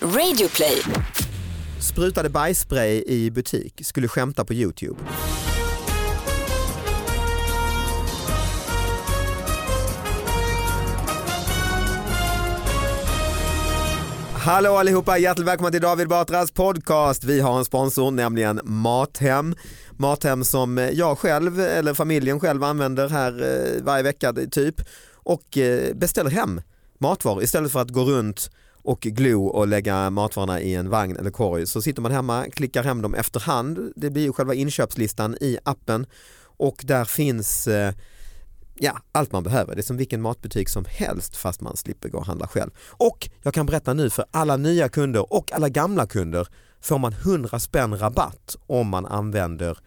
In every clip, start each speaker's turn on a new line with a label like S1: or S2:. S1: Radioplay.
S2: Sprutade bajsspray i butik, skulle skämta på Youtube. Hallå allihopa, hjärtligt välkomna till David Batras podcast. Vi har en sponsor, nämligen Mathem. Mathem som jag själv, eller familjen själv använder här eh, varje vecka typ och eh, beställer hem matvaror istället för att gå runt och glo och lägga matvarorna i en vagn eller korg så sitter man hemma, klickar hem dem efterhand. Det blir ju själva inköpslistan i appen och där finns eh, ja, allt man behöver. Det är som vilken matbutik som helst fast man slipper gå och handla själv. Och jag kan berätta nu för alla nya kunder och alla gamla kunder får man 100 spänn rabatt om man använder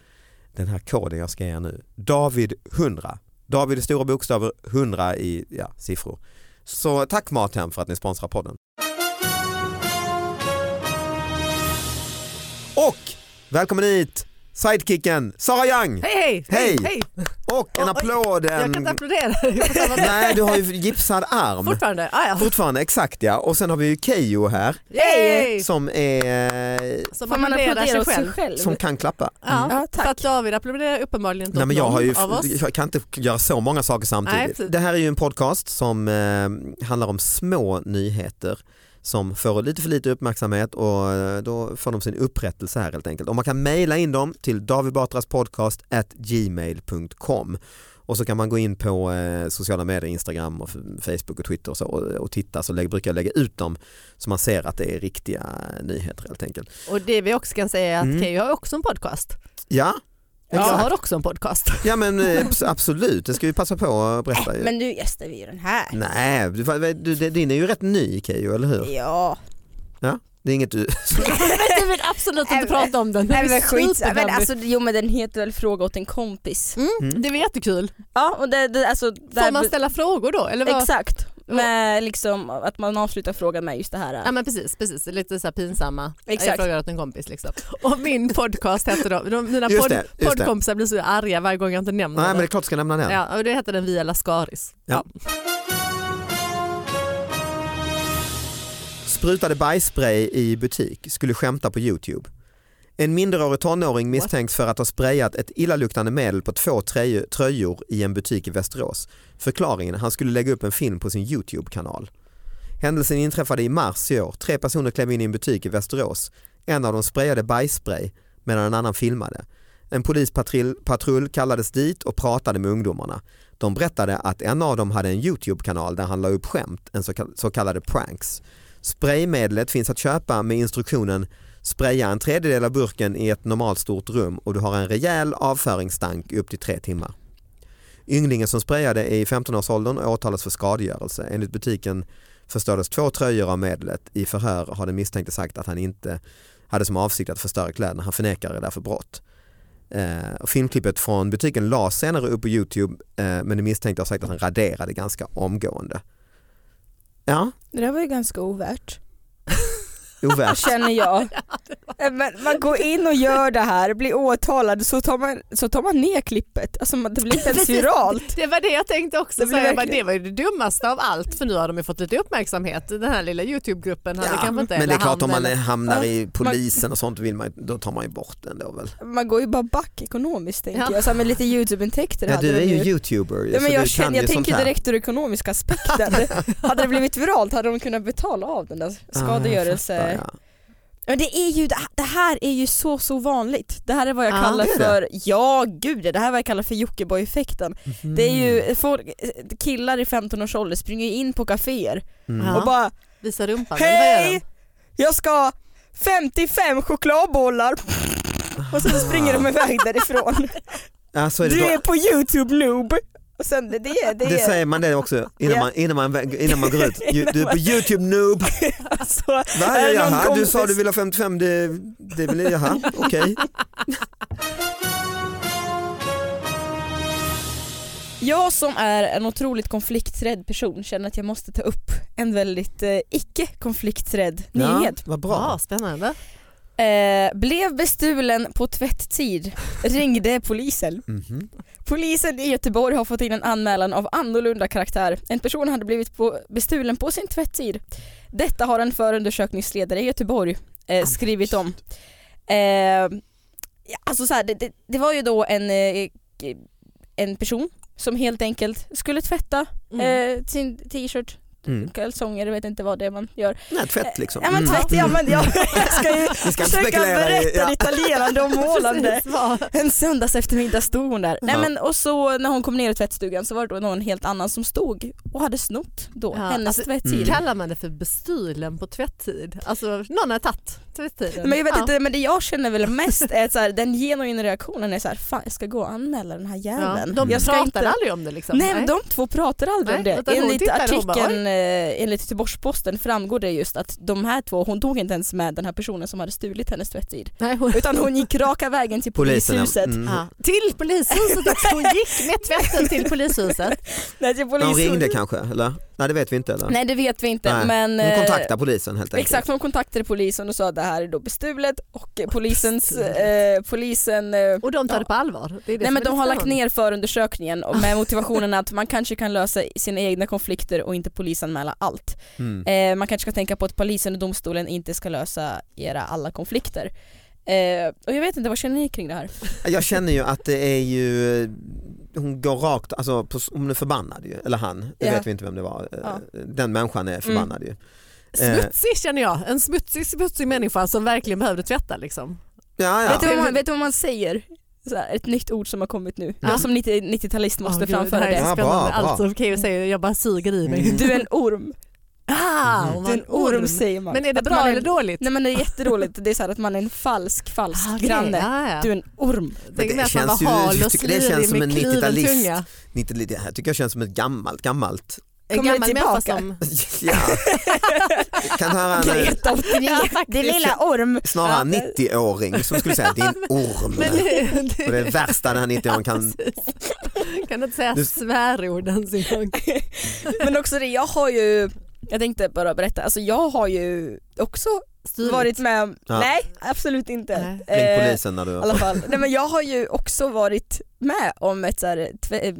S2: den här koden jag ska ge er nu. David 100. David i stora bokstäver, 100 i ja, siffror. Så tack Mathem för att ni sponsrar podden. Och välkommen hit sidekicken Sara Young
S3: Hej hej!
S2: Hej.
S3: hej.
S2: och en
S3: Oj, oj.
S2: applåd.
S3: Jag
S2: en-
S3: kan inte applådera på samma sätt.
S2: Nej, du har ju gipsad arm.
S3: Fortfarande? Ah, ja.
S2: Fortfarande, exakt ja. Och sen har vi ju Keyyo här
S3: Yay!
S2: som, är,
S3: Så
S4: Får man applådera sig själv?
S2: som kan klappa.
S3: Ja,
S4: Ja, tack.
S3: För att David applåderar uppenbarligen inte
S2: Nej, men jag,
S3: någon
S2: har ju,
S3: av oss.
S2: jag kan inte göra så många saker
S3: Nej,
S2: samtidigt.
S3: precis.
S2: det här är ju en podcast som eh, handlar om små nyheter som får lite för lite uppmärksamhet och eh, då får de sin upprättelse här helt enkelt. Och man kan mejla in dem till davidbatraspodcast@gmail.com och så kan man gå in på eh, sociala medier, Instagram, och f- Facebook och Twitter och, så, och, och titta så lägger, brukar jag lägga ut dem så man ser att det är riktiga nyheter helt enkelt.
S3: Och det vi också kan säga är att
S2: Mm.
S3: mm. har också en podcast.
S2: Ja,
S3: Jag
S2: exakt.
S3: har också en podcast.
S2: ja men eh, abs- absolut, det ska vi passa på att berätta. ju.
S4: Men nu gästar vi ju den här.
S2: Nej, du, vad- vad- du, det- din är ju rätt ny Keyyo, eller hur?
S4: Ja.
S2: Det är inget du...
S3: men du vill absolut inte
S4: Nej, men-
S3: prata om den.
S4: Nej
S3: Den är
S4: men skit.
S3: superdammig.
S4: Men alltså, jo men den heter väl fråga åt en kompis.
S2: Mm.
S3: Det var jättekul.
S4: Ja och det, det alltså.
S3: Får
S4: där-
S3: man ställa frågor då? Eller vad?
S4: Exakt. Med liksom att man avslutar frågan med just det här.
S3: Ja men precis, precis. lite så här pinsamma.
S4: Exakt.
S3: Jag frågar åt en kompis liksom. Och min podcast hette då, de, mina
S2: Just
S3: podd,
S2: det, just det.
S3: poddkompisar blir så arga varje gång jag inte nämner
S2: Nej men det
S3: den.
S2: är klart du ska nämna den.
S3: Ja, och det hette den Via Lascaris.
S2: Ja. Sprutade bajsspray i butik, skulle skämta på Youtube. En minderårig tonåring misstänks för att ha sprayat ett illaluktande medel på två tröj- tröjor i en butik i Västerås. Förklaringen, han skulle lägga upp en film på sin Youtube-kanal. Händelsen inträffade i mars i år. Tre personer klev in i en butik i Västerås. En av dem sprayade bajsspray medan en annan filmade. En polispatrull patrull kallades dit och pratade med ungdomarna. De berättade att en av dem hade en Youtube-kanal där han la upp skämt, en så kall- så kallade pranks. Spraymedlet finns att köpa med instruktionen spraya en tredjedel av burken i ett normalt stort rum och du har en rejäl avföringsstank i upp till tre timmar. Ynglingen som sprayade är i 15-årsåldern och åtalas för skadegörelse. Enligt butiken förstördes två tröjor av medlet. I förhör har den misstänkte sagt att han inte hade som avsikt att förstöra kläderna. Han förnekade därför brott. Eh, och filmklippet från butiken lades senare upp på Youtube eh, men den misstänkte har sagt att han raderade ganska omgående. Ja,
S4: Det där var ju ganska ovärt.
S2: ovärt.
S4: Känner jag. Eh, Men man går in och gör det här, blir åtalad så tar man, så tar man ner klippet. Alltså man- det blir inte ens
S3: Precis.
S4: viralt.
S3: Det var det jag tänkte också.
S4: Det
S3: Det,
S4: blir
S3: jag bara, det
S4: verkligen-
S3: var ju det dummaste av allt för nu har de ju fått lite uppmärksamhet. Den här lilla Youtube-gruppen hade
S2: Ja,
S3: kanske inte
S2: men det
S3: eller
S2: är klart
S3: han
S2: om man
S3: eller-
S2: hamnar
S4: Ja,
S2: i polisen och sånt vill man, då tar man ju bort den då väl.
S4: Man går ju bara back ekonomiskt tänker
S3: Ja.
S4: jag. Så här, med lite YouTube-intäkter
S2: Ja,
S4: hade
S2: du är
S4: de
S2: ju youtuber
S4: Ja,
S2: så
S4: men jag,
S2: du kan
S4: känner,
S2: ju
S4: jag
S2: sånt
S4: tänker
S2: här.
S4: direkt ur ekonomiska aspekten. hade det blivit viralt hade de kunnat betala av den där
S2: Ah, jag
S4: skadegörelse.
S2: fattar, ja.
S4: Men det, är ju, det här är ju så så vanligt. Det här är vad jag
S3: Ja.
S4: kallar
S2: Ah, Det är
S4: för,
S2: det.
S4: ja gud ja, det här är vad jag kallar för Jockiboi-effekten. Det är
S2: Mm.
S4: ju folk, killar i 15 års ålder springer ju in på kaféer
S2: Mm.
S3: Ja.
S4: och bara
S3: Visa rumpan. eller vad gör
S4: Hej! Jag ska ha 55 chokladbollar och sen springer de iväg därifrån.
S2: Ja, Ah. så är det,
S4: Du
S2: då.
S4: är på youtube noob! Och sen det, det, är- det,
S2: det
S4: är-
S2: säger man det också innan,
S4: Ja.
S2: man, innan, man, innan man går ut. Ju- Du är på youtube noob.
S4: Alltså,
S2: Va?
S4: är det någon
S2: Jaha, du
S4: kompis?
S2: sa du ville ha 55, det, det vill jag, jaha, okej.
S4: Jag som är en otroligt konflikträdd person känner att jag måste ta upp en väldigt eh, icke konflikträdd
S2: Ja,
S4: nyhet.
S2: vad
S3: den? Ja,
S2: bra.
S3: spännande.
S4: Eh, blev bestulen på tvätttid, ringde polisen.
S2: Mhm.
S4: Polisen i Göteborg har fått in en anmälan av annorlunda karaktär. En person hade blivit på, bestulen på sin tvätttid. Detta har en förundersökningsledare i Göteborg
S2: Ah,
S4: eh, skrivit om. Eh, ja, alltså så här, det, det, det var ju då en, eh, en person som helt enkelt skulle tvätta
S3: Mm.
S4: eh, sin t-shirt,
S2: Mm.
S4: kalsonger, jag vet inte vad det är man gör. Eh,
S2: Nej, tvätt liksom.
S4: Ja men
S2: Mm.
S4: tvätt, ja men jag, jag ska ju
S2: Vi ska inte
S4: försöka
S2: spekulera i-
S4: berätta
S2: ja.
S4: detaljerande och målande.
S3: Precis, va?
S4: En söndags eftermiddag stod hon där. Nej,
S2: Ja.
S4: men, och så när hon kom ner i tvättstugan så var det då någon helt annan som stog och hade snott då
S3: Ja,
S4: hennes
S3: alltså,
S4: tvättsid.
S2: mm.
S3: Kallar man det för bestulen på tvättid? Alltså någon har tagit tvättiden.
S4: Men jag vet
S3: Ja.
S4: inte, men det jag känner väl mest är att så här, den genuina reaktionen är så här, fan jag ska gå och anmäla den här
S3: Ja.
S4: jäveln.
S3: De
S4: jag ska
S3: pratade aldrig om det liksom.
S4: Nej, men de två pratar aldrig
S3: Nej,
S4: om
S3: utan
S4: det.
S3: hon
S4: Enligt
S3: tittar och hon bara,
S4: artikeln, eh, enligt Göteborgs-Posten framgår det just att de här två, hon tog inte ens med den här personen som hade stulit hennes tvättsid.
S3: Nej, hon...
S4: Utan hon gick raka vägen till
S2: Polisen, ja.
S4: polishuset.
S2: Mm.
S3: Ja. Till polishuset också. Hon gick med tvätten till polishuset.
S4: Nej, till
S2: De
S4: polishuset.
S2: ringde kanske eller? Nej det vet vi inte eller?
S4: Nej det vet vi inte
S2: Nej.
S4: men
S2: De
S4: eh,
S2: kontaktar polisen helt enkelt.
S4: Exakt, de kontaktade polisen och sa att det här är då bestulet och eh, polisens,
S3: Bestulet.
S4: eh, polisen eh,
S3: Och de tar
S4: Ja.
S3: det på allvar. Det är det
S4: Nej
S3: som
S4: men
S3: är
S4: de har
S3: lite
S4: lagt
S3: spännande.
S4: ner förundersökningen och med motivationen att man kanske kan lösa sina egna konflikter och inte polisanmäla allt.
S2: Mm.
S4: Eh, man kanske ska tänka på att polisen och domstolen inte ska lösa era alla konflikter. Eh, och jag vet inte, vad känner ni kring det här?
S2: Jag känner ju att det är ju, hon går rakt, alltså på- hon är förbannad ju, eller han, det
S4: Ja.
S2: vet vi inte vem det var. Eh,
S4: Ja. Mm.
S2: Den människan är förbannad ju. Eh,
S3: Smutsig känner jag. En smutsig, smutsig människa som verkligen behövde tvätta. Liksom.
S2: Ja, ja.
S4: Vet, du vad man, vet du vad man säger? Så här, ett nytt ord som har kommit nu.
S3: Ja.
S4: Jag som 90 90-talist måste
S3: Åh, gud,
S4: framföra
S3: här är
S4: det.
S2: Ja, bra,
S3: spännande.
S2: Ah, bra.
S3: Allt som Keyyo säger, jag bara suger i mig.
S2: Mm.
S4: Du är en orm.
S3: Ah,
S2: Mm.
S3: om
S4: Du är
S3: man
S4: en orm säger man.
S3: Men är det
S4: Att
S3: bra
S4: man är-
S3: eller dåligt?
S4: Nej men det är jätteroligt, det är så här att man är en falsk, falsk
S3: Ah, okej.
S4: granne.
S3: Ja, ja.
S4: Du är en orm.
S2: Men
S3: Tänk
S2: det
S3: mig att man
S2: känns
S3: var
S2: ju-
S3: hal och
S2: tycker det känns
S3: slirig
S2: som
S3: med
S2: en
S3: kluven
S2: 90-talist.
S3: tunga.
S2: Inte, lite- det här tycker jag känns som ett gammalt, gammalt.
S3: En
S4: Kommer
S3: gammal människa
S4: tillbaka.
S3: som...
S2: Ja. Kan höra en eh,
S4: Greta 89, din lilla orm.
S2: snarare en
S4: Ja.
S2: 90-åring som skulle säga din orm.
S3: Men
S2: Och det är det värsta den här 90-åringen kan,
S3: kan du inte säga
S2: Du-
S3: svärord ens en gång?
S4: Men också det, jag har ju, jag tänkte bara berätta, alltså jag har ju också
S3: Styr.
S4: varit med om,
S2: Ja.
S4: nej absolut inte.
S3: Nej.
S2: ring
S4: Eh,
S2: polisen när
S4: I
S2: du...
S4: alla fall. Nej men jag har ju också varit med om ett såhär, eh,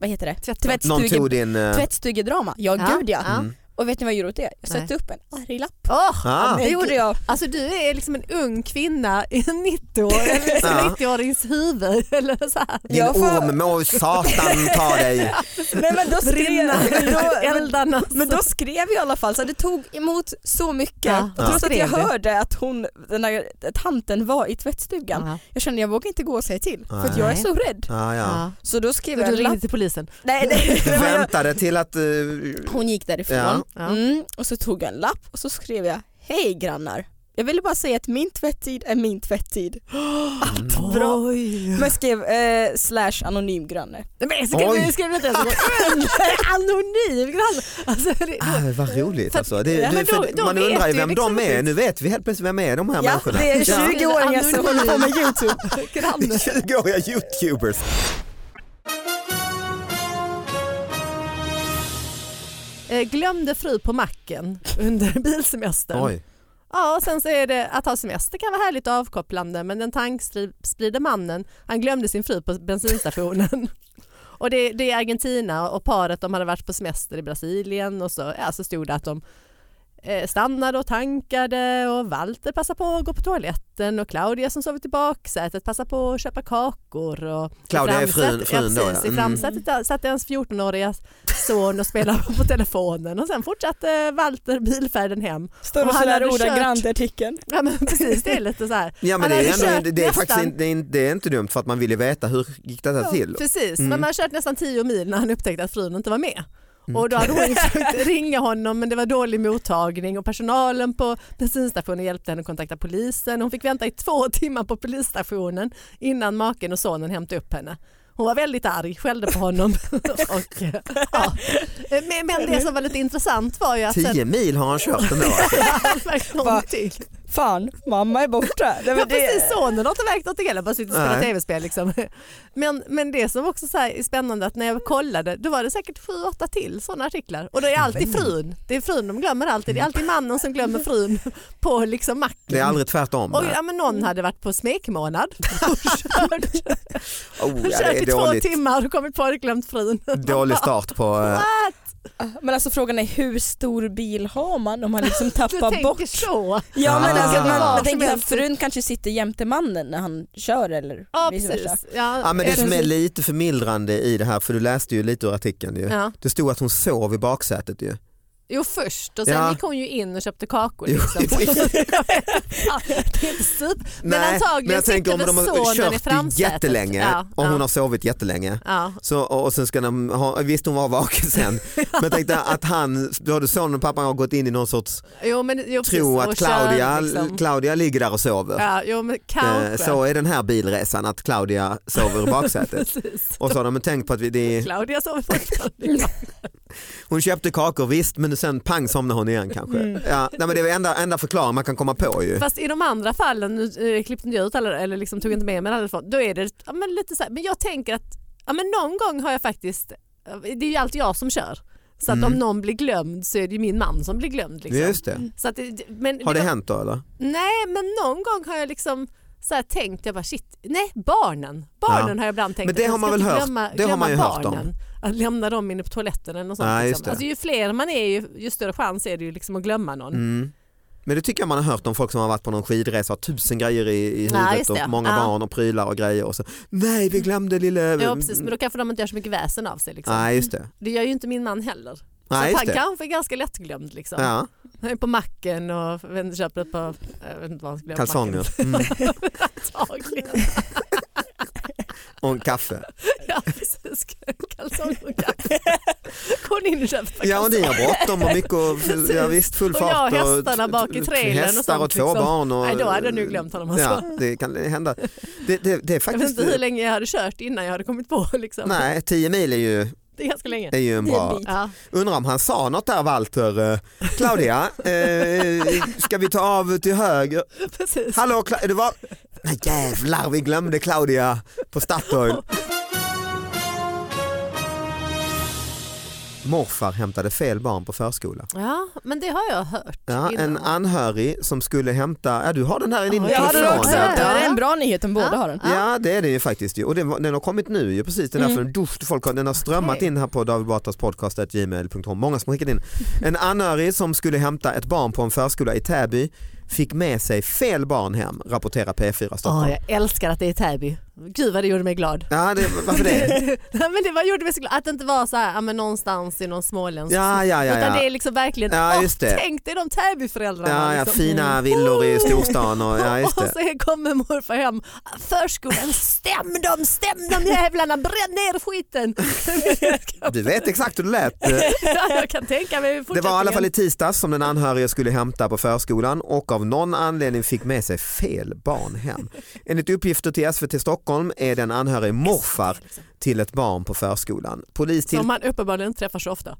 S4: vad heter det?
S3: Tvätt-
S2: Någon
S4: Tvättstuge,
S2: tog din... eh,
S4: tvättstugedrama. Ja,
S3: Ja.
S4: gud ja.
S3: Ja.
S2: Mm.
S4: Och vet ni vad jag gjorde åt det? Jag
S3: Nej.
S4: satte upp en arg lapp.
S3: Åh,
S2: Ah.
S4: Det
S3: men
S4: gjorde
S3: gud.
S4: jag.
S3: Alltså du är liksom en ung kvinna i en 90-år, eller liksom
S2: Ja.
S3: 90-årings huvud. Eller så här.
S2: Din
S4: Jag får-
S2: orm, må satan ta dig.
S4: Nej men då
S3: Brinna,
S4: skrev, men då, men,
S3: eldan alltså.
S4: men då skrev jag i alla fall så här, det tog emot så mycket.
S3: Ja,
S4: och trots
S3: ja.
S4: att jag
S3: skrev det.
S4: hörde att hon, den där tanten var i tvättstugan.
S3: Ja.
S4: Jag kände jag vågar inte gå och säga till för att
S2: Nej.
S4: jag är så rädd.
S2: Ja, ja.
S3: Ja.
S4: Så då skrev
S3: Så
S4: jag
S3: Du
S4: en lapp.
S3: ringde till polisen.
S4: Nej, nej,
S2: Du
S4: nej, men jag-
S2: väntade till att... eh,
S4: Hon gick därifrån
S2: Ja.
S3: Ja.
S4: Mm, och så tog jag en lapp och så skrev jag Hej grannar, jag ville bara säga att min tvättid är min tvättid. Allt bra.
S3: Oj.
S4: Men jag skrev eh, slash anonym granne.
S3: Men
S2: Oj.
S3: skrev, skrev du inte ens anonym grann? Alltså, det,
S2: Ah, vad roligt alltså. Det,
S4: Ja,
S2: det,
S3: men då-
S2: för
S3: då
S2: man
S3: vet
S2: undrar ju
S3: du
S2: vem
S3: liksom
S2: de är.
S3: inte.
S2: Nu vet vi helt plötsligt vem är de här
S4: Ja,
S2: människorna.
S4: det är
S2: Ja.
S4: 20-åringar som håller på med
S3: Youtube. Granne.
S2: 20-åriga youtubers.
S3: Eh, glömde fru på macken under bilsemestern.
S2: Oj.
S3: Ja, och sen så är det att ha semester kan vara härligt och avkopplande men den tankspride mannen han glömde sin fru på bensinstationen. och det, det är Argentina och paret de hade varit på semester i Brasilien och så, ja, så stod det att de eh, stannade och tankade och Walter passade på att gå på toaletten och Claudia som sovit i baksätet passade på att köpa kakor. Och
S2: Claudia är
S3: i framsätet-
S2: frun- frun då,
S3: ja. precis,
S2: ja.
S3: I
S2: Mm.
S3: framsätet där satt ens 14-åriga son och spelade på telefonen och sen fortsatte Walter bilfärden hem
S4: Står
S3: Och
S4: och
S3: han
S4: sådär
S3: hade
S4: ordagrant
S3: kört-
S4: i artikeln.
S3: Ja men precis, det är lite så här.
S2: Ja, men
S3: Han
S2: det,
S3: hade
S2: är ändå,
S3: kört
S2: det, är
S3: nästan-
S2: faktiskt, inte- det, är, inte- det är inte dumt för att man vill ju veta hur gick detta till.
S3: Precis,
S2: Mm. Mm.
S3: men man har kört nästan 10 mil när han upptäckte att frun inte var med. Och då hade hon försökt ringa honom men det var dålig mottagning och personalen på bensinstationen hjälpte henne att kontakta polisen. Hon fick vänta i två timmar på polisstationen innan maken och sonen hämtade upp henne. Hon var väldigt arg, skällde på honom. och, eh, ja. Eh, men, men det som var lite intressant var ju att...
S2: Tio mil har han kört ändå.
S3: Någonting.
S4: Fan, mamma är borta. Nej, men
S3: Ja
S4: det-
S3: precis, sonen har inte märkt något heller, bara sitter och spelar
S2: Nej.
S3: tv-spel. Liksom. Men, men det som också så här är spännande att när jag kollade då var det säkert sju, åtta till sådana artiklar och det är alltid frun. Det är frun de glömmer alltid, det är alltid mannen som glömmer frun på liksom macken.
S2: Det är aldrig tvärtom.
S3: och,
S2: nej.
S3: ja, men någon hade varit på smekmånad och kört,
S2: Oh, ja, det
S3: kört typ i
S2: är
S3: två
S2: dåligt,
S3: timmar och kommit på att glömt frun.
S2: dålig start på... eh,
S3: What?
S4: Men alltså frågan är hur stor bil har man om man liksom
S3: Du
S4: tappar
S3: tänker
S4: bort?
S3: så.
S4: Ja men
S2: Ah.
S4: alltså man,
S2: Ja,
S4: man
S3: som
S4: tänker att
S3: helst.
S4: frun kanske sitter jämte mannen när han kör eller
S3: Ja
S4: vice versa.
S3: precis. Ja,
S2: Ja, men det
S4: Eller-
S2: som är lite förmildrande i det här, för du läste ju lite ur artikeln ju.
S3: ja.
S2: Det stod att hon sov i baksätet ju.
S3: Jo först och sen
S2: Ja.
S3: gick hon ju in och köpte kakor.
S2: Jo,
S3: Liksom.
S2: jo, jo.
S3: Ja, det är inte super. Men
S2: Nej,
S3: antagligen
S2: men jag tänker om
S3: sitter
S2: de
S3: väl
S2: har
S3: sonen i
S2: kört
S3: framsätet.
S2: jättelänge,
S3: Ja,
S2: om
S3: ja.
S2: hon har sovit jättelänge.
S3: Ja.
S2: Så, och och sen ska de ha, visst hon var vaken sen, men jag tänkte att han, både sonen och pappan har gått in i någon sorts
S3: Jo, men, jo, precis,
S2: tro
S3: och
S2: att Claudia,
S3: kör, liksom.
S2: Claudia ligger där och sover.
S3: Ja, jo men
S2: Eh,
S3: kanske.
S2: Så är den här bilresan, att Claudia sover i baksätet.
S3: Precis.
S2: och så har de tänkt på att vi, det är,
S3: Claudia sover fortfarande.
S2: hon köpte kakor visst men sen pang somnar hon igen kanske.
S4: Mm.
S2: Ja, nej, men det är väl enda, enda förklaring man kan komma på ju.
S3: Fast i de andra fallen, nu eh, klippte inte jag ut alla, eller liksom tog inte med mig alla från, då är det ja, men lite så här, men jag tänker att ja, men någon gång har jag faktiskt, eh, det är ju alltid jag som kör. Så att
S2: Mm.
S3: om någon blir glömd så är det ju min man som blir glömd. Liksom.
S2: Just det.
S3: Så att, det- men,
S2: Har det hänt då eller?
S3: Nej men någon gång har jag liksom så här tänkt, jag bara shit, nej barnen, barnen
S2: Ja.
S3: har jag ibland tänkt
S2: Men det
S3: att
S2: har
S3: jag
S2: man
S3: ska
S2: väl
S3: inte
S2: hört.
S3: glömma,
S2: Det har
S3: glömma
S2: man ju hört om.
S3: barnen. Att lämna dem inne på toaletten eller något sånt.
S2: Nej, just
S3: liksom.
S2: det.
S3: alltså, ju fler man är ju, ju större chans är det ju liksom att glömma någon.
S2: Mm. Men det tycker jag man har hört om folk som har varit på någon skidresa och har tusen grejer i, i
S3: Ja,
S2: huvudet
S3: just det.
S2: och många
S3: Ja.
S2: barn och prylar och grejer och så nej vi glömde lille...
S3: Ja precis, men då kanske de inte gör så mycket väsen av sig. Liksom.
S2: Nej just det.
S3: Det gör ju inte min man heller. Så
S2: Nej,
S3: att
S2: just
S3: han
S2: det.
S3: kanske är ganska lättglömd. Liksom.
S2: Ja,
S3: Han är på macken och jag vet inte, köper ett par jag vet inte vad han skulle göra på
S2: kalsonger
S3: macken.
S2: mm.
S3: Antagligen.
S2: och en kaffe.
S3: Ja, precis. Kalsonger och kaffe. Går ni in och köper ett par
S2: Ja och ni
S3: kalsonger?
S2: har bråttom och mycket, och, ja, visst full
S3: Och
S2: fart.
S3: jag och hästarna
S2: t-
S3: bak i
S2: t-
S3: trailern och
S2: Hästar och
S3: sånt,
S2: två
S3: liksom.
S2: barn. Och,
S3: Nej, då hade jag nog glömt honom, alltså.
S2: Ja, det kan hända. Det, det, det är
S3: Jag vet
S2: faktiskt...
S3: inte hur länge jag hade kört innan jag hade kommit på. Liksom.
S2: Nej, 10 mil är ju,
S3: Det är ganska länge.
S2: är ju en
S4: Det är en
S2: bra...
S4: bit.
S3: Ja.
S2: Undrar om han sa något där Walter. Eh, Claudia, eh, ska vi ta av till höger?
S3: Precis.
S2: Hallå, Cla- det var... Nej jävlar, vi glömde Claudia på Statoil. Morfar hämtade fel barn på förskola.
S3: Ja, men det har jag hört.
S2: Ja, en
S3: innan.
S2: anhörig som skulle hämta, ja du har den här i din
S3: Ja,
S4: Jag hade
S2: telefon.
S4: också
S3: Ja.
S4: hört det, det är en bra nyhet om båda
S3: Ja.
S4: har den.
S2: Ja det är den ju faktiskt ju. och den, var- den har kommit nu ju precis, den, därför, dusch, folk har, den har strömmat
S3: Okej.
S2: in här på davidbatraspodcast.gmail.com, många som har skickat in. En anhörig som skulle hämta ett barn på en förskola i Täby fick med sig fel barn hem, rapporterar P4 Stockholm.
S3: Åh, jag älskar att det är i Täby. Gud vad det gjorde mig glad.
S2: Ja, det, varför det?
S3: Nej, men det var, gjorde mig så glad. Att det inte var så här, ja, men någonstans i någon småländsk
S2: Ja, ja, ja.
S3: Utan det
S2: ja.
S3: är liksom verkligen,
S2: Ja,
S3: åh,
S2: just det.
S3: tänk dig de Täbyföräldrarna.
S2: Ja, ja,
S3: liksom.
S2: fina villor i storstan och ja, just
S3: och
S2: det.
S3: så kommer morfar hem, förskolan, stäm dem, stäm dem jävlarna, bränn ner skiten.
S2: Du vet exakt hur det lät.
S3: ja, Alltså. jag kan tänka mig
S2: Det var i alla
S3: fortsättningen.
S2: fall i tisdags som den anhörige skulle hämta på förskolan och av någon anledning fick med sig fel barn hem. Enligt uppgifter till SVT Stockholm är den anhörige morfar till ett barn på förskolan. Polis till...
S3: liksom. Som man uppenbarligen inte träffar så ofta.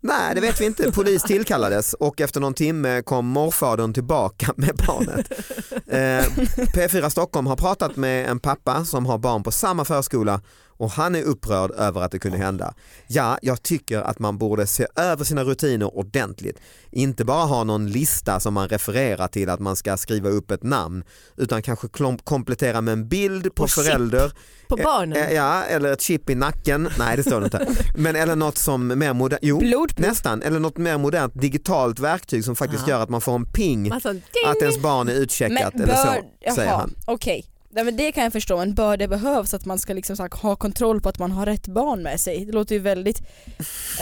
S2: Nej, det vet vi inte. Polis tillkallades och efter någon timme kom morfadern tillbaka med barnet. Eh, P4 Stockholm har pratat med en pappa som har barn på samma förskola och han är upprörd över att det kunde hända. Ja, jag tycker att man borde se över sina rutiner ordentligt. Inte bara ha någon lista som man refererar till att man ska skriva upp ett namn utan kanske klom- komplettera med en bild på
S3: Och chip.
S2: förälder
S3: På
S2: Eh,
S3: barnen.
S2: Eh, Ja, eller ett chip i nacken. Nej det står det inte. Men eller något som mer modernt, jo
S4: Blodprov.
S2: nästan, eller något mer modernt digitalt verktyg som faktiskt
S3: Ja.
S2: gör att man får en ping
S3: Man sa, ding!
S2: att ens barn är utcheckat eller så, säger
S4: jaha,
S2: han.
S4: okej. Nej, men det kan jag förstå, men bör det behövas att man ska liksom så här, ha kontroll på att man har rätt barn med sig? Det låter ju väldigt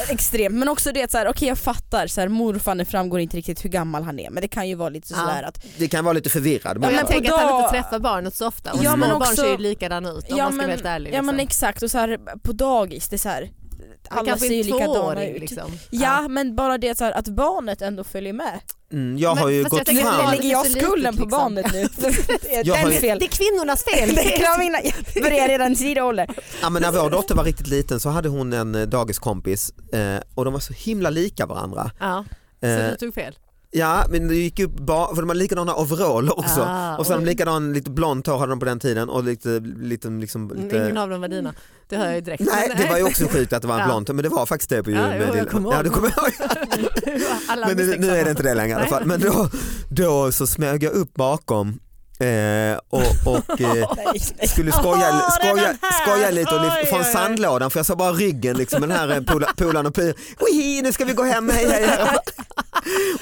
S4: extremt. Men också det att så här, okej jag fattar, så här, morfar det framgår inte riktigt hur gammal han är men det kan ju vara lite
S3: Ja.
S4: sådär att
S2: Det kan vara lite förvirrad.
S3: Ja,
S2: Men,
S3: men
S4: på
S3: tänk att han
S4: dag-
S3: inte träffar barnet så ofta och
S4: Ja,
S3: små
S4: men
S3: barn
S4: också-
S3: ser ju likadana ut om
S4: Ja,
S3: man ska
S4: men-
S3: vara helt ärlig.
S4: Ja
S3: Liksom.
S4: men exakt och så här, på dagis, det är så här,
S3: Han
S4: alla
S3: kanske
S4: ser ju
S3: är en
S4: likadana
S3: tvååring,
S4: ut.
S3: Liksom.
S4: Ja men bara det så här, att barnet ändå följer med.
S2: mm, jag har
S3: Men-
S2: ju
S3: fast jag
S2: gått
S3: tänker att
S2: fram.
S3: barnet-
S4: Lägger jag
S3: är så litet,
S4: skulden på
S3: liksom.
S4: barnet nu? det är
S2: Jag har ju-
S4: den fel.
S3: Det är kvinnornas fel.
S4: Det är mina, jag börjar redan i tidig ålder.
S2: Ja, men när vår dotter var riktigt liten så hade hon en eh, dagiskompis eh, och de var så himla lika varandra.
S3: ja, så
S2: Eh,
S3: du tog fel.
S2: Ja men det gick upp, ba- för de hade likadana overaller också.
S3: Ah,
S2: och så hade de
S3: oj.
S2: likadan, lite blont hår hade de på den tiden och lite, lite, liksom, lite
S3: Ingen av dem var dina. Det hör jag ju direkt.
S2: Nej, det var ju också sjukt att det var en
S3: Ja.
S2: blont, men det var faktiskt det på
S3: Ja, jo,
S2: julmeddelanden.
S3: jag kommer ihåg.
S2: Ja, du kommer ihåg.
S3: Alla
S2: Men nu, nu är det inte det längre i alla
S3: Nej.
S2: fall. Men då, då så smög jag upp bakom Eh, och och eh,
S4: Nej, nej.
S2: skulle skoja,
S4: Åh,
S2: skoja,
S4: redan här!
S2: skoja lite och lyfta
S4: Oj,
S2: från
S4: oj, oj.
S2: sandlådan för jag såg bara ryggen liksom med den här eh, pola- polaren och pyr. Oj, nu ska vi gå hem, hej hej. hej.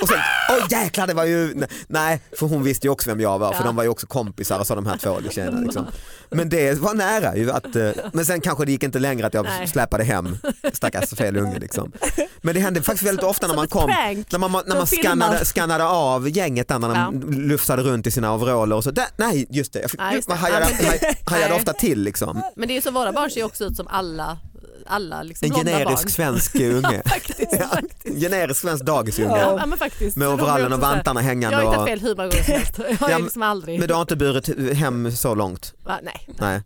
S2: Och sen, oj jäklar det var ju, nej för hon visste ju också vem jag var för
S3: Ja.
S2: de var ju också kompisar och så de här två tjejerna. Liksom. Men det var nära ju att, eh, men sen kanske det gick inte längre att jag
S3: Nej.
S2: släpade hem stackars fel unge liksom. Men det hände faktiskt väldigt ofta när
S3: Som
S2: man
S3: ett
S2: kom
S3: prank.
S2: när man, när man
S3: filmar.
S2: skannade, skannade av gänget där när de
S3: Ja.
S2: lufsade runt i sina overaller och så. Där, nej just det, jag fick,
S3: Nej, just det.
S2: man hajade,
S3: Ja, men det-
S2: haj- hajade
S3: nej. Mm.
S2: ofta till liksom.
S3: Men det är ju så, våra barn ser ju också ut som alla, alla liksom
S2: En
S3: blonda
S2: generisk
S3: barn.
S2: svensk unge.
S3: Faktiskt,
S2: Ja,
S3: faktiskt.
S2: generisk svensk dagisunge.
S3: Ja, ja, men faktiskt.
S2: Med
S3: De är
S2: overallen
S3: också
S2: och
S3: så här-
S2: vantarna
S3: Jag har
S2: hängande.
S3: hittat
S2: Och,
S3: fel hur många gånger som helst. Jag
S2: Ja,
S3: har liksom aldrig...
S2: men du har inte burit hem så långt?
S3: Va, nej.
S2: Nej.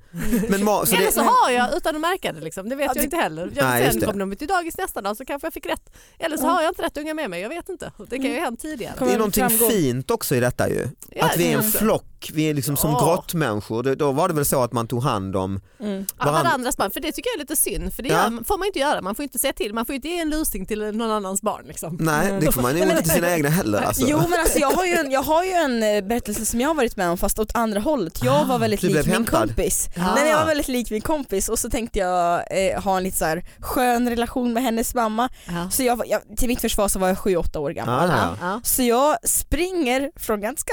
S2: Men, ma- så
S3: Eller
S2: det,
S3: så har jag utan att märka det. Liksom. Det vet
S4: Ja,
S3: jag
S4: det-
S3: inte heller. Jag
S2: Nej, just
S3: sen
S2: det.
S3: kom de till dagis nästa dag så kanske jag fick rätt. Eller så
S4: Mm.
S3: har jag inte rätt unga med mig. Jag vet inte. Det kan ju ha hänt tidigare.
S2: det är
S4: Kommer
S2: någonting
S4: framgång.
S2: fint också i detta ju.
S3: Ja,
S2: Att vi är en
S4: det-
S2: flock, vi är liksom som
S3: Ja.
S2: grottmänniskor. Det- Då var det väl så att man tog hand om
S4: Mm.
S3: Ja,
S2: Varann-
S3: varandras barn. För det tycker jag är lite synd. För det
S2: Ja.
S3: gör, får man inte göra. Man får inte säga till. Man får inte ge en lusing till någon annans barn. Liksom.
S2: Nej, det får man ju
S4: Nej, men-
S2: inte till sina egna heller. Alltså.
S4: Jo men alltså jag har, ju en, jag har ju en eh, berättelse som jag har varit med om fast åt andra hållet. Jag var väldigt
S2: du
S4: lik
S2: blev
S4: min
S2: hämtad.
S4: kompis.
S3: Ah.
S4: Nej, men jag var väldigt lik min kompis och så tänkte jag eh, ha en lite så här skön relation med hennes mamma.
S3: Ja.
S4: Så jag, var- jag, till mitt försvar så var jag 7-8 år gammal.
S2: Ah,
S3: Ja.
S2: ja.
S3: Ja.
S4: Så jag springer från ganska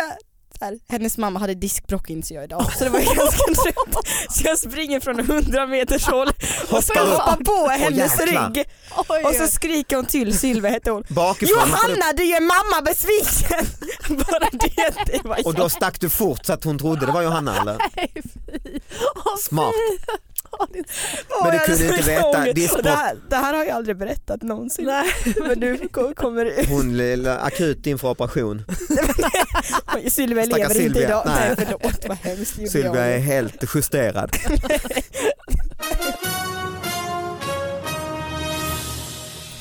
S4: så här, hennes mamma hade diskbråck inser jag idag så det var ju ganska trött. Så jag springer från 100 meters håll och så
S2: Hoppar upp.
S4: hoppar på hennes
S2: jäklar.
S4: rygg
S3: Oj,
S4: och så skriker hon till Sylvia hette hon.
S2: Bakifrån.
S4: Johanna du gör mamma besviken! Bara det, det var
S2: Och
S4: jag.
S2: då stack du fort så att hon trodde det var Johanna eller?
S3: nej, fy. Åh,
S2: Smart.
S3: fy. Åh, det är så-
S4: Åh,
S2: men det
S4: jag
S2: kunde
S4: hade
S2: inte
S4: så
S2: veta.
S4: ångest.
S2: Diskbråck.
S4: Och Det, här, det här har jag aldrig berättat någonsin. Men nu ko- kommer det ut.
S2: Hon lilla akut inför operation.
S4: Oj, Sylvia
S2: Stackars
S4: lever inte
S2: Sylvia.
S4: idag.
S2: Nej.
S4: Nej, förlåt vad hemskt gjorde
S2: Sylvia är
S4: jag.
S2: helt justerad.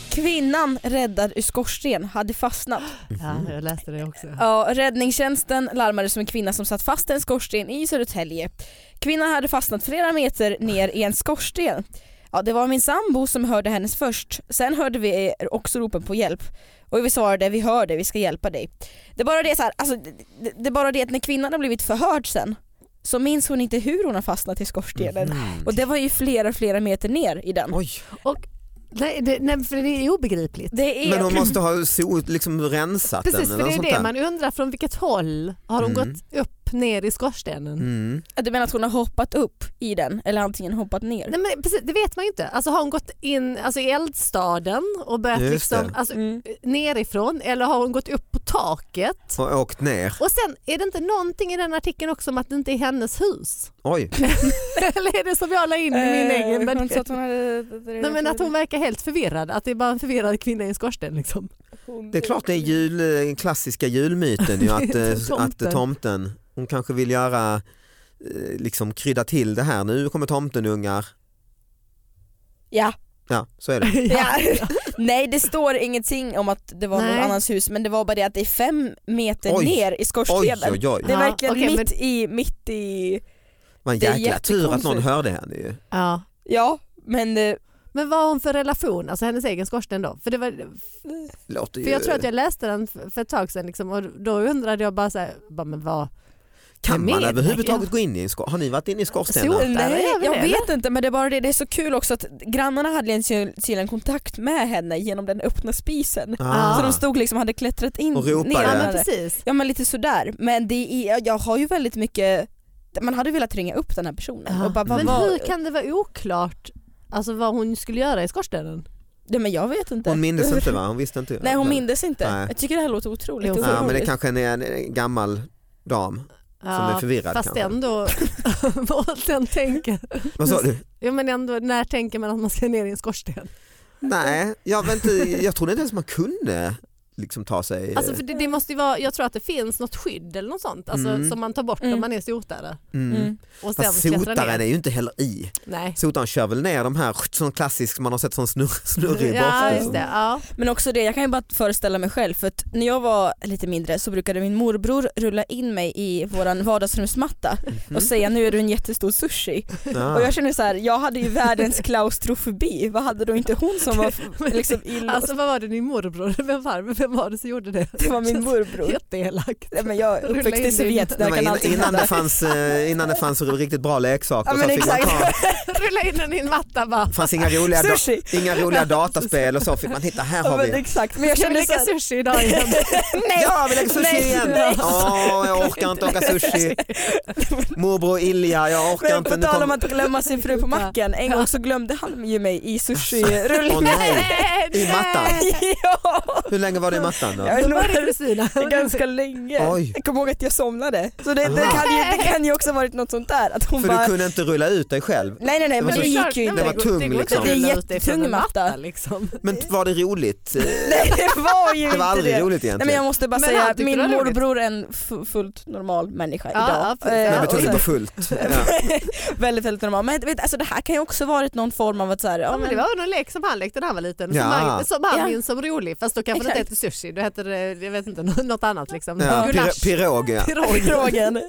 S4: Kvinnan räddad ur skorsten hade fastnat.
S3: Ja, jag läste det också.
S4: Ja, räddningstjänsten larmade som en kvinna som satt fast i en skorsten i Södertälje. Kvinnan hade fastnat flera meter ner i en skorsten. Ja, det var min sambo som hörde hennes först. Sen hörde vi också ropen på hjälp. Och vi svarade vi hör dig, vi ska hjälpa dig. Det är bara det, så här, alltså, det, det är bara det att när kvinnan har blivit förhörd sen så minns hon inte hur hon har fastnat i skorstenen.
S2: Mm.
S4: Och det var ju flera, flera meter ner i den.
S2: Oj.
S3: Nej, det, nej, för det är obegripligt.
S4: Det är...
S2: Men hon måste ha so, liksom rensat
S3: Precis,
S2: den
S3: för det
S2: eller
S3: är ju
S2: sånt
S3: det
S2: där.
S3: man undrar från vilket håll har hon
S2: Mm.
S3: gått upp ner i skorstenen?
S2: Mm.
S4: Du menar att hon har hoppat upp i den eller antingen hoppat ner?
S3: Nej, men precis, det vet man ju inte. Alltså, har hon gått in alltså, i eldstaden och börjat
S2: Just
S3: liksom,
S2: det.
S3: alltså,
S4: Mm.
S3: nerifrån eller har hon gått upp på taket?
S2: Och åkt ner.
S3: Och sen är det inte någonting i den artikeln också om att det inte är hennes hus?
S2: Oj.
S3: eller är det som jag la in i min
S4: Eh,
S3: egen? Men,
S4: hon sa att hon hade...
S3: nej, men att hon verkar helt förvirrad, att det är bara en förvirrad kvinna i en skorsten. Liksom.
S2: Det är klart det är jul, den klassiska julmyten ju att, eh, att eh, tomten, hon kanske vill göra eh, liksom krydda till det här. Nu kommer tomtenungar.
S4: Ja.
S2: Ja, så är det.
S4: ja. Nej det står ingenting om att det var
S3: Nej.
S4: någon annans hus men det var bara det att det är fem meter
S2: Oj.
S4: ner i
S2: Oj,
S4: skorstenen.
S2: oj, oj.
S4: Det är
S3: Ja,
S4: verkligen
S3: okej,
S4: mitt, i, mitt i...
S2: Vad en
S4: Det är
S2: jäkla tur att någon
S4: jättekonstigt.
S2: hörde henne ju.
S3: Ja.
S4: Ja men eh,
S3: Men vad har hon för relation, alltså hennes egen skorsten då? För, det var,
S2: Låter ju...
S3: för jag tror att jag läste den f- för ett tag sedan liksom, och då undrade jag bara så här, bara, men vad,
S2: Kan man
S3: Med-
S2: överhuvudtaget gå in i en skorsten? Har ni varit inne i skorstenen?
S3: Sotar
S4: nej,
S3: även
S4: jag
S3: det,
S4: vet inte men det är bara det, det är så kul också att grannarna hade en kyl- tydligen kontakt med henne genom den öppna spisen.
S2: Ah.
S4: Så de stod liksom och hade klättrat in
S2: Och ropade.
S4: ner.
S3: Ja,
S2: Eller?
S3: men precis.
S4: Ja men lite sådär, men det är, jag har ju väldigt mycket, man hade velat ringa upp den här personen
S2: Ah,
S3: Ja.
S4: och bara, vad
S3: Men
S4: var-
S3: hur kan det vara oklart alltså, vad hon skulle göra i skorstenen?
S4: Nej men jag vet inte.
S2: Hon mindes inte va? Hon visste inte?
S4: Nej hon mindes inte.
S2: Nej.
S4: Jag tycker det här låter otroligt
S3: Jo,
S2: Ja, men det
S4: otroligt.
S2: kanske är en, en gammal dam som är förvirrad
S3: fast
S2: kanske.
S3: ändå, vad den tänker.
S2: Vad sa du?
S3: Ja, men ändå, när tänker man att man ska ner i en skorsten?
S2: Nej, jag, vet inte, jag trodde inte ens man kunde liksom ta sig...
S3: Alltså, för det, det måste ju vara, jag tror att det finns något skydd eller något sånt alltså,
S2: Mm.
S3: som man tar bort om
S4: Mm.
S3: man är sotare.
S2: mm.
S4: Mm.
S3: Och sen
S2: Fast
S3: klättrar
S2: sotaren är
S3: ner.
S2: ju inte heller i.
S3: Nej.
S2: Sotaren kör väl ner de här, sån klassisk man har sett sån snurr, snurrig
S3: Ja,
S2: borste.
S3: just det. Ja.
S4: Men också det, jag kan ju bara föreställa mig själv för att när jag var lite mindre så brukade min morbror rulla in mig i våran vardagsrumsmatta
S2: Mhm.
S4: och säga nu är du en jättestor sushi.
S2: Ja.
S4: Och jag känner så här, jag hade ju världens klaustrofobi, vad hade då inte hon som var liksom
S3: Alltså
S4: inlåst?
S3: vad var det din morbror, vem var, vem Vem var det som gjorde det?
S4: Det var min morbror.
S3: Jätteelakt.
S4: Nej, men jag
S3: Rulla
S4: uppväxte
S3: in
S4: i
S3: din-
S4: Sovjet, där
S2: Nej, men
S4: kan
S2: innan,
S4: allting
S2: innan, det
S4: hända.
S2: fanns, eh, innan det fanns riktigt bra leksaker
S4: Ja,
S2: så
S4: men
S2: fick man
S4: exakt.
S2: ta,
S3: Rulla in den i en matta bara.
S2: det fanns inga roliga, da,
S4: Sushi!
S2: inga roliga dataspel och så fick man hitta, här
S4: Ja,
S2: har
S4: men
S2: vi.
S4: exakt, men jag
S3: Ska vi
S4: kände
S3: leka
S4: såhär,
S3: sushi idag igen?
S4: nej!
S2: Ja vi lägger sushi
S4: Nej,
S2: igen!
S4: nej.
S2: Åh, jag orkar inte åka sushi. Morbror Ilja, jag orkar
S4: Men
S2: inte.
S4: på
S2: nu
S4: tal
S2: kom-
S4: om att glömma sin fru på macken, en gång så glömde han ju mig i sushirullningen.
S2: Åh nej, i mattan.
S4: ja!
S2: Hur länge var det i mattan då?
S4: Jag vet
S3: Då
S4: inte
S3: var
S4: vad
S3: det
S4: det
S3: Kristina.
S4: är, ganska länge.
S2: Oj.
S4: Jag kommer ihåg att jag somnade. Så det, det,
S2: Aha.
S4: kan ju, det kan ju också ha varit något sånt där. Att hon
S2: För
S4: bara,
S2: du kunde inte rulla ut dig själv.
S4: nej nej nej men
S2: Det var
S4: det
S2: så-
S4: gick ju
S2: det
S4: inte.
S2: var tung, liksom.
S4: Det är jättetung matta.
S3: Liksom.
S2: Men var det roligt? Eh,
S4: Nej det var ju
S2: Det var
S4: inte
S2: aldrig
S4: det.
S2: roligt
S4: Nej men jag
S2: egentligen.
S4: måste bara
S3: Men han
S4: säga,
S3: tyckte
S4: min
S3: det var roligt.
S4: morbror är en fu- fullt normal människa
S3: Ja, ja,
S4: idag.
S3: precis.
S4: Eh,
S3: Men
S2: Men
S4: och
S2: betyder
S4: så-
S2: på fullt. Ja.
S4: väldigt, väldigt normal. Men vet, alltså, det här kan ju också varit någon form av att så här, ja,
S3: Ja, men det
S4: men-
S3: var någon lek som han lekte när han var liten
S2: Ja.
S3: som han, som han
S4: Ja.
S3: minns som rolig fast då kanske det
S4: Exakt.
S3: inte hette sushi, då hette det jag vet inte, något annat liksom.
S2: Ja,
S3: Gulasch.
S2: pir- pirog, ja.
S3: Pirog.
S4: Frågan.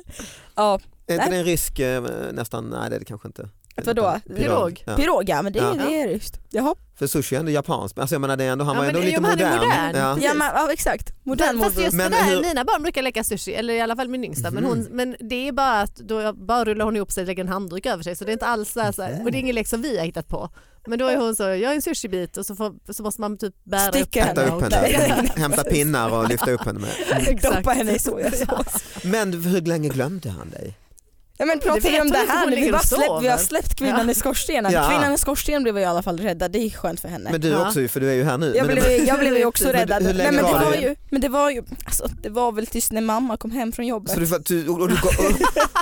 S4: Ja,
S2: Är inte
S4: Nej.
S2: det en rysk eh, nästan? Nej det är det kanske inte.
S4: Att vadå?
S2: Pirog. Ja.
S4: piroga, men det,
S2: Ja.
S4: är det är just. Jaha.
S2: För sushi är ändå japanskt. Alltså jag menar det är ändå, han
S3: Ja,
S2: var
S3: men
S2: ändå
S3: det-
S2: lite
S3: jo, men han är
S2: modern.
S3: modern.
S2: Ja.
S4: Ja, men, ja exakt, modern
S3: Fast
S4: morbror.
S3: just
S2: Men
S3: det där,
S2: hur-
S3: mina barn brukar leka sushi, eller i alla fall min yngsta, men,
S4: Mhm.
S3: hon, men det är bara att då bara rullar hon ihop sig och lägger en handduk över sig så det är inte alls så här, så här, och det är ingen lek som vi har hittat på. Men då är hon så, jag är en sushibit och så, får, så måste man typ bära
S4: Sticka
S3: upp
S2: Hämta
S3: henne.
S4: henne
S2: upp
S3: och-
S2: henne, hämta pinnar och lyfta upp henne med.
S3: Exakt.
S4: Doppa henne i sojasås.
S2: Men hur länge glömde han dig?
S4: Ja, men pratar
S3: Det vet
S4: vi om
S3: hon
S4: det
S3: inte, hon
S4: här nu? Vi,
S3: ligger
S4: bara
S3: och sover.
S4: släppt, vi har släppt kvinnan
S3: Ja.
S4: i skorstenen.
S2: Ja.
S4: Kvinnan i skorstenen blev jag i alla fall räddad, det är skönt för henne.
S2: Men du
S3: Ja.
S2: också ju, för du är ju här nu.
S4: jag,
S2: Men-
S4: blev, jag blev ju också
S2: Men du-
S4: räddad.
S2: hur länge
S4: Nej, men,
S2: var
S4: det
S2: det?
S4: var ju, men det var ju, alltså, det var väl tills när mamma kom hem från jobbet.
S2: Så du, du, och, du, gav-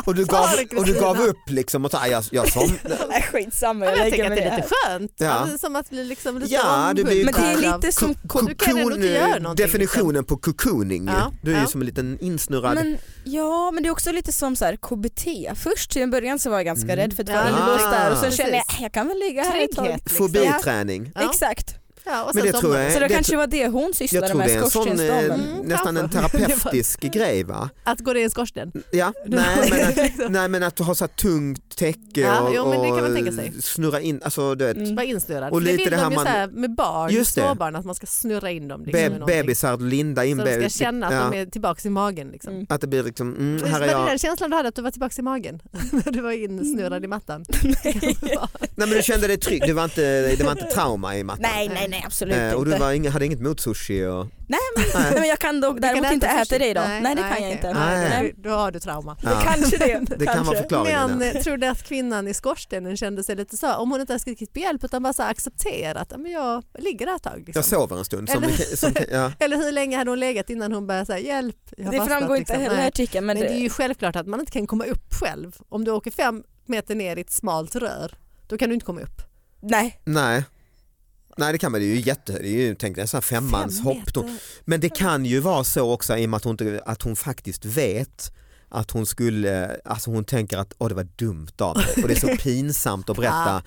S2: och, du gav, och du gav upp liksom och sa jag, jag somnade.
S4: Nej, skitsamma,
S3: Ja,
S4: jag,
S3: men
S4: lägger
S3: jag tycker att
S4: mig
S3: det är
S4: här.
S3: lite skönt.
S2: Ja.
S3: Alltså, som att bli liksom lite
S2: Ja, du blir ju
S4: Men det
S3: omhuldad
S4: är
S3: av-
S4: lite som
S3: Du kan ändå inte göra
S2: Cocoon,
S3: någonting, liksom.
S2: definitionen på cocooning.
S3: Ja,
S2: Du är ju
S3: ja.
S2: som en liten insnurrad
S4: Men, ja men det är också lite som så här, KBT. Först till en början så var jag ganska
S2: Mm.
S4: rädd för det
S3: Ja,
S4: var inlåst där och sen
S3: Ah, precis.
S4: kände jag "Äh, jag kan väl ligga här ett tag.
S3: trygghet. Liksom.
S2: fobiträning.
S3: Ja.
S4: Exakt,
S3: Ja, och
S2: Men
S3: sen
S2: det tror
S3: somnar-
S2: jag,
S4: så det,
S2: det,
S4: kanske var det hon
S2: jag
S4: sysslade
S2: tror
S4: med,
S2: det är en sån, eh,
S4: skorstensdamen.
S3: Mm,
S2: nästan en
S3: kanske.
S2: terapeutisk grej va?
S3: Att gå ner i skorsten.
S2: Ja, nej men, att,
S3: Liksom.
S2: nej men att du har så här tungt täcke
S3: Ja,
S2: och,
S3: jo, men det kan man
S2: och
S3: tänka sig.
S2: snurra in, alltså du vet,
S4: Mm.
S3: Bara insnurrad.
S2: Och
S3: Och det
S2: lite
S3: vill
S2: det här
S3: de ju
S2: man-
S3: så här med barn,
S2: Just det.
S3: småbarn, att man ska snurra in dem. Liksom, i
S2: be,
S3: någonting.
S2: bebisar, linda in
S3: Så de ska
S2: bebis-
S3: känna att
S2: ja,
S3: de är tillbaka i magen. Liksom.
S4: Mm.
S2: att det blir liksom, mm,
S3: Här
S2: här är
S3: var det
S2: jag.
S3: den känslan du hade att du var tillbaka i magen när du var insnurrad i mattan?
S2: Nej men du kände dig trygg, det var inte, det var inte trauma i mattan.
S4: Nej nej nej absolut
S2: Eh, och du
S4: inte.
S2: var inga, hade inget mot sushi och...
S4: Nej, Nej, men jag kan dock
S3: Du
S4: däremot
S3: kan
S4: inte äta
S3: sushi.
S4: det idag. Nej, det kan
S3: okej.
S4: jag inte.
S2: Nej.
S4: Nej.
S3: Då har du trauma.
S2: Ja.
S4: Kanske det.
S2: Det kan vara förklaringen.
S3: Men
S2: ja.
S3: eh, tror du att kvinnan i skorstenen kände sig lite så, om hon inte har skrikit på hjälp utan bara så här accepterat, "Ja, men jag ligger där ett tag. Liksom.
S2: Jag sover en stund. Som,
S3: Eller-
S2: som, ja.
S3: Eller hur länge hade hon legat innan hon började säga hjälp? jag har
S4: Det
S3: fastnat",
S4: framgår inte
S3: liksom.
S4: heller i
S3: Nej.
S4: artikeln men
S3: Men det är
S4: det,
S3: ju självklart att man inte kan komma upp själv. Om du åker fem meter ner i ett smalt rör, då kan du inte komma upp.
S4: nej.
S2: Nej. Nej det kan man, det är ju jätte, det är ju tänk dig en sån här femmanshopp.
S3: Fem meter.
S2: Men det kan ju vara så också i och med att hon, inte- att hon faktiskt vet att hon skulle, alltså hon tänker att åh det var dumt av mig och det är så pinsamt att berätta.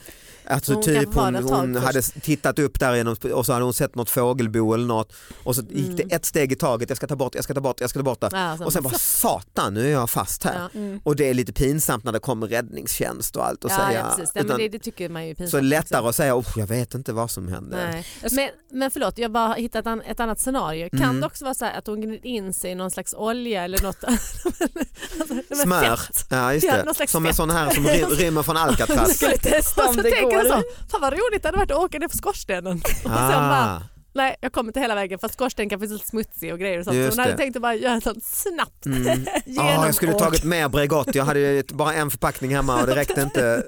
S2: Alltså
S3: Hon
S2: typ
S3: kanske var
S2: hon,
S3: där ett tag
S2: hon
S3: först.
S2: hade tittat upp där genom och så hade hon sett något fågelbo eller något och så gick
S3: Mm.
S2: det ett steg i taget, jag ska ta bort, jag ska ta bort, jag ska ta bort det.
S3: Ja, sen
S2: Och sen bara satan nu är jag fast här.
S3: Ja.
S4: Mm.
S2: Och det är lite pinsamt när det kommer räddningstjänst och allt och
S3: Ja,
S2: säga.
S3: ja, precis. Nej, men
S2: utan-
S3: det, det tycker man ju är pinsamt.
S2: så lättare
S3: också.
S2: att säga, "Oh, jag vet inte vad som hände.
S3: Nej. Men, men förlåt, jag bara har hittat an, ett annat scenario. Kan
S2: Mm.
S3: det också vara så här att hon gned in sig i någon slags olja eller något? alltså, det var
S2: Smör,
S3: fett.
S2: ja, just
S3: Ja,
S2: det.
S3: någon slags
S2: som en
S3: fett.
S2: sån här som ry- rymmer från Alcatraz.
S4: Skulle testa
S3: Och
S4: om
S3: så
S4: det
S3: tänker jag
S4: går.
S3: så,
S2: Mm.
S3: fan vad roligt det hade varit att åka ner för skorstenen. Och sen bara,
S2: Ah,
S3: nej jag kommer inte hela vägen för skorstenen kan finnas lite smutsig och grejer och sånt. Så
S2: Just
S3: hon hade
S2: det.
S3: tänkt att bara göra sånt snabbt.
S2: mm. ah,
S3: Genom
S2: jag skulle tagit med Bregott, jag hade ju ett- bara en förpackning hemma och det räckte inte.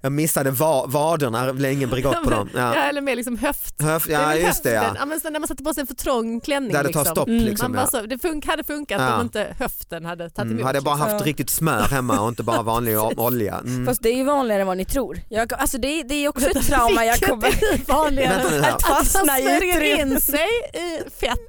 S2: Jag missade va- vaderna, det blev ingen Bregott på dem.
S3: Ja.
S2: Ja.
S3: eller mer liksom höft.
S2: Höf,
S3: Det är
S2: ja
S3: väl
S2: just det
S3: höften.
S2: ja.
S3: men sen när man satte på sig en för trång klänning.
S2: Där det tar
S3: liksom.
S2: stopp
S4: Mm.
S2: liksom.
S3: man bara
S2: Ja.
S3: så, det fun- hade funkat
S2: Ja.
S3: om inte höften hade tagit emot.
S2: Mm, hade jag bara
S3: liksom.
S2: haft
S4: Ja.
S2: riktigt smör hemma och inte bara vanlig o- olja. Mm.
S4: Fast det är ju vanligare än vad ni tror. Jag, alltså det, är- det är också ett trauma jag
S3: Vilket
S4: kommer...
S3: är vanligare.
S2: Vänta nu här.
S3: Att fastna
S4: Fastna
S3: i
S4: i
S3: smörjer
S4: utrymmet.
S3: in sig i fett.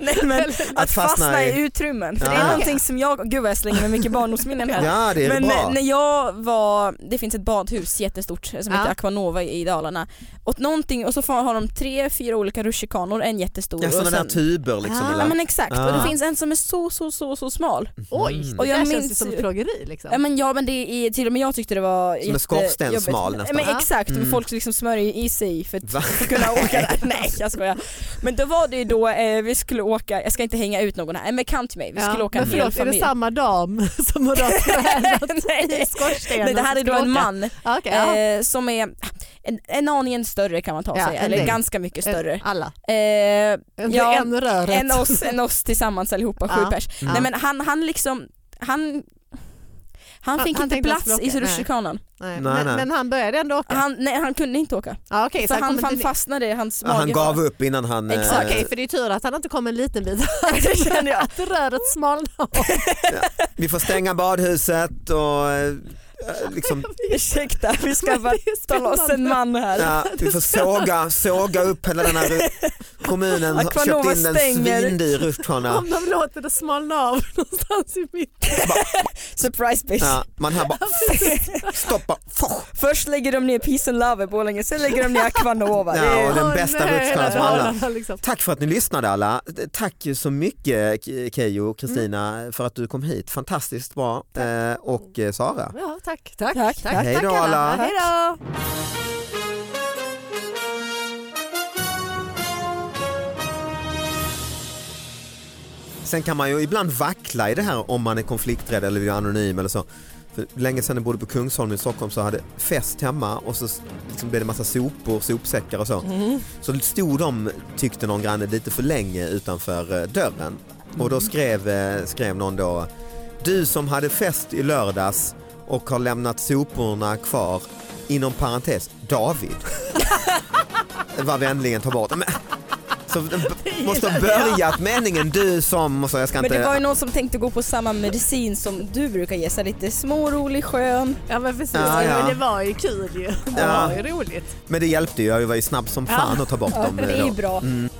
S4: Nej, men,
S3: Eller-
S4: att fastna i
S2: i-
S4: utrymmen. För det
S2: Ja.
S4: är någonting som jag, gud vad jag slänger med mycket barndomsminnen här.
S2: Ja det är
S4: Men eh,
S2: bra.
S4: när jag var, det finns ett badhus jättestort som
S3: Ja.
S4: heter Aquanova i i Dalarna. Och, någonting, och så får- har de tre, fyra olika rutschkanor, en jättestor.
S2: Ja,
S4: och
S2: sådana där tuber liksom.
S3: Ah,
S4: ja
S2: eller?
S4: men exakt, och
S2: Ah.
S4: det finns en som är så, så, så, så smal.
S3: Oj,
S4: Och jag
S3: Mm. det känns ju
S4: minns-
S3: som ett plågeri liksom.
S4: Ja men, ja, men det är, till och med jag tyckte det var
S2: Som en skorsten
S4: jättejobbigt.
S2: smal nästan.
S4: Men
S3: Ja.
S4: exakt,
S2: Mm.
S4: mm. folk liksom smörjer i sig för att
S2: Va?
S4: för att kunna åka där. Nej jag skojar. Men då var det ju då eh, vi skulle åka, jag ska inte hänga ut någon här, en bekant till mig, vi skulle
S3: Ja,
S4: åka
S3: men
S4: en hel
S3: förlåt, är det
S4: familj.
S3: samma dam som har rört tränat i
S4: Nej.
S3: skorstenen?
S4: Nej det här
S3: som
S4: är då
S3: ska
S4: en
S3: åka?
S4: man
S3: Ja, okej, ja.
S4: eh, som är en, en aningen större kan man ta
S3: Ja,
S4: sig,
S3: en
S4: eller
S3: längd.
S4: ganska mycket större.
S3: Alla.
S4: Eh,
S3: Ja,
S4: Ja,
S3: en röret.
S4: än, oss, än oss tillsammans allihopa, sju
S3: Ja.
S4: pers.
S2: Ja.
S4: Nej men han, han liksom, han han
S3: Han-
S4: fick
S3: han
S4: inte
S3: tänkte
S4: plats
S3: inte
S4: i
S3: åka, nej.
S4: rutschkanan.
S3: nej.
S2: Nej,
S3: Men,
S2: nej.
S3: men han började ändå åka?
S4: Han, nej han kunde inte åka.
S3: Ja, okej,
S4: För
S3: så
S4: han,
S3: han,
S4: han
S3: kom inte
S4: fastnade i hans
S2: Ja,
S4: mage.
S2: han gav upp innan han... eh,
S3: Exakt. Okej, för det är tur att han inte kom en liten bit.
S4: det känner jag.
S3: Att röret smalnade av.
S2: Vi får stänga badhuset och eh, liksom,
S4: Ursäkta, vi ska bara
S3: Det är
S4: ta loss en
S3: spännande.
S4: man här.
S2: ja, vi får såga, såga upp hela den här ru- kommunen har
S4: Aquanova
S2: köpt in en
S4: stänger.
S2: svindyr rutschkana.
S3: Om de låter det smalna av någonstans i mitten.
S4: Surprise bitch.
S2: Ja, man här bara stoppa.
S4: Först lägger de ner Peace and Love i Borlänge, sen lägger de ner Aquanova. Det
S2: Ja, och
S4: är-
S2: den
S3: Åh,
S2: bästa
S3: nej,
S2: rutschkanan som alla.
S3: Dalarna, Liksom.
S2: Tack för att ni lyssnade alla. Tack ju så mycket Ke- Keyyo och Kristina för att du kom hit. Fantastiskt bra. Eh, Och eh, Sara.
S3: Ja, tack. tack.
S4: Tack.
S2: Hej då, alla.
S3: Hej då.
S2: Sen kan man ju ibland vackla i det här om man är konflikträdd eller vill vara anonym eller så. För länge sedan jag bodde på Kungsholmen i Stockholm så hade fest hemma och så s- liksom blev det massa sopor, sopsäckar och så.
S4: Mm.
S2: Så stod de, tyckte någon granne, lite för länge utanför eh, dörren. Och
S4: Mm.
S2: då skrev, eh, skrev någon då, du som hade fest i lördags och har lämnat soporna kvar, inom parentes, David. Var vänligen ta bort. Men, så den b- måste ha börjat meningen du som, och så jag ska
S4: Men
S2: inte...
S4: det var ju någon som tänkte gå på samma medicin som du brukar ge, så här lite smårolig, skön.
S3: Ja men precis,
S2: Ja, ja.
S3: Men det var ju kul ju. Det
S2: Ja.
S3: var ju roligt.
S2: Men det hjälpte ju, jag var ju snabb som fan att ta bort dem.
S4: Det är
S2: då.
S4: ju bra.
S2: Mm.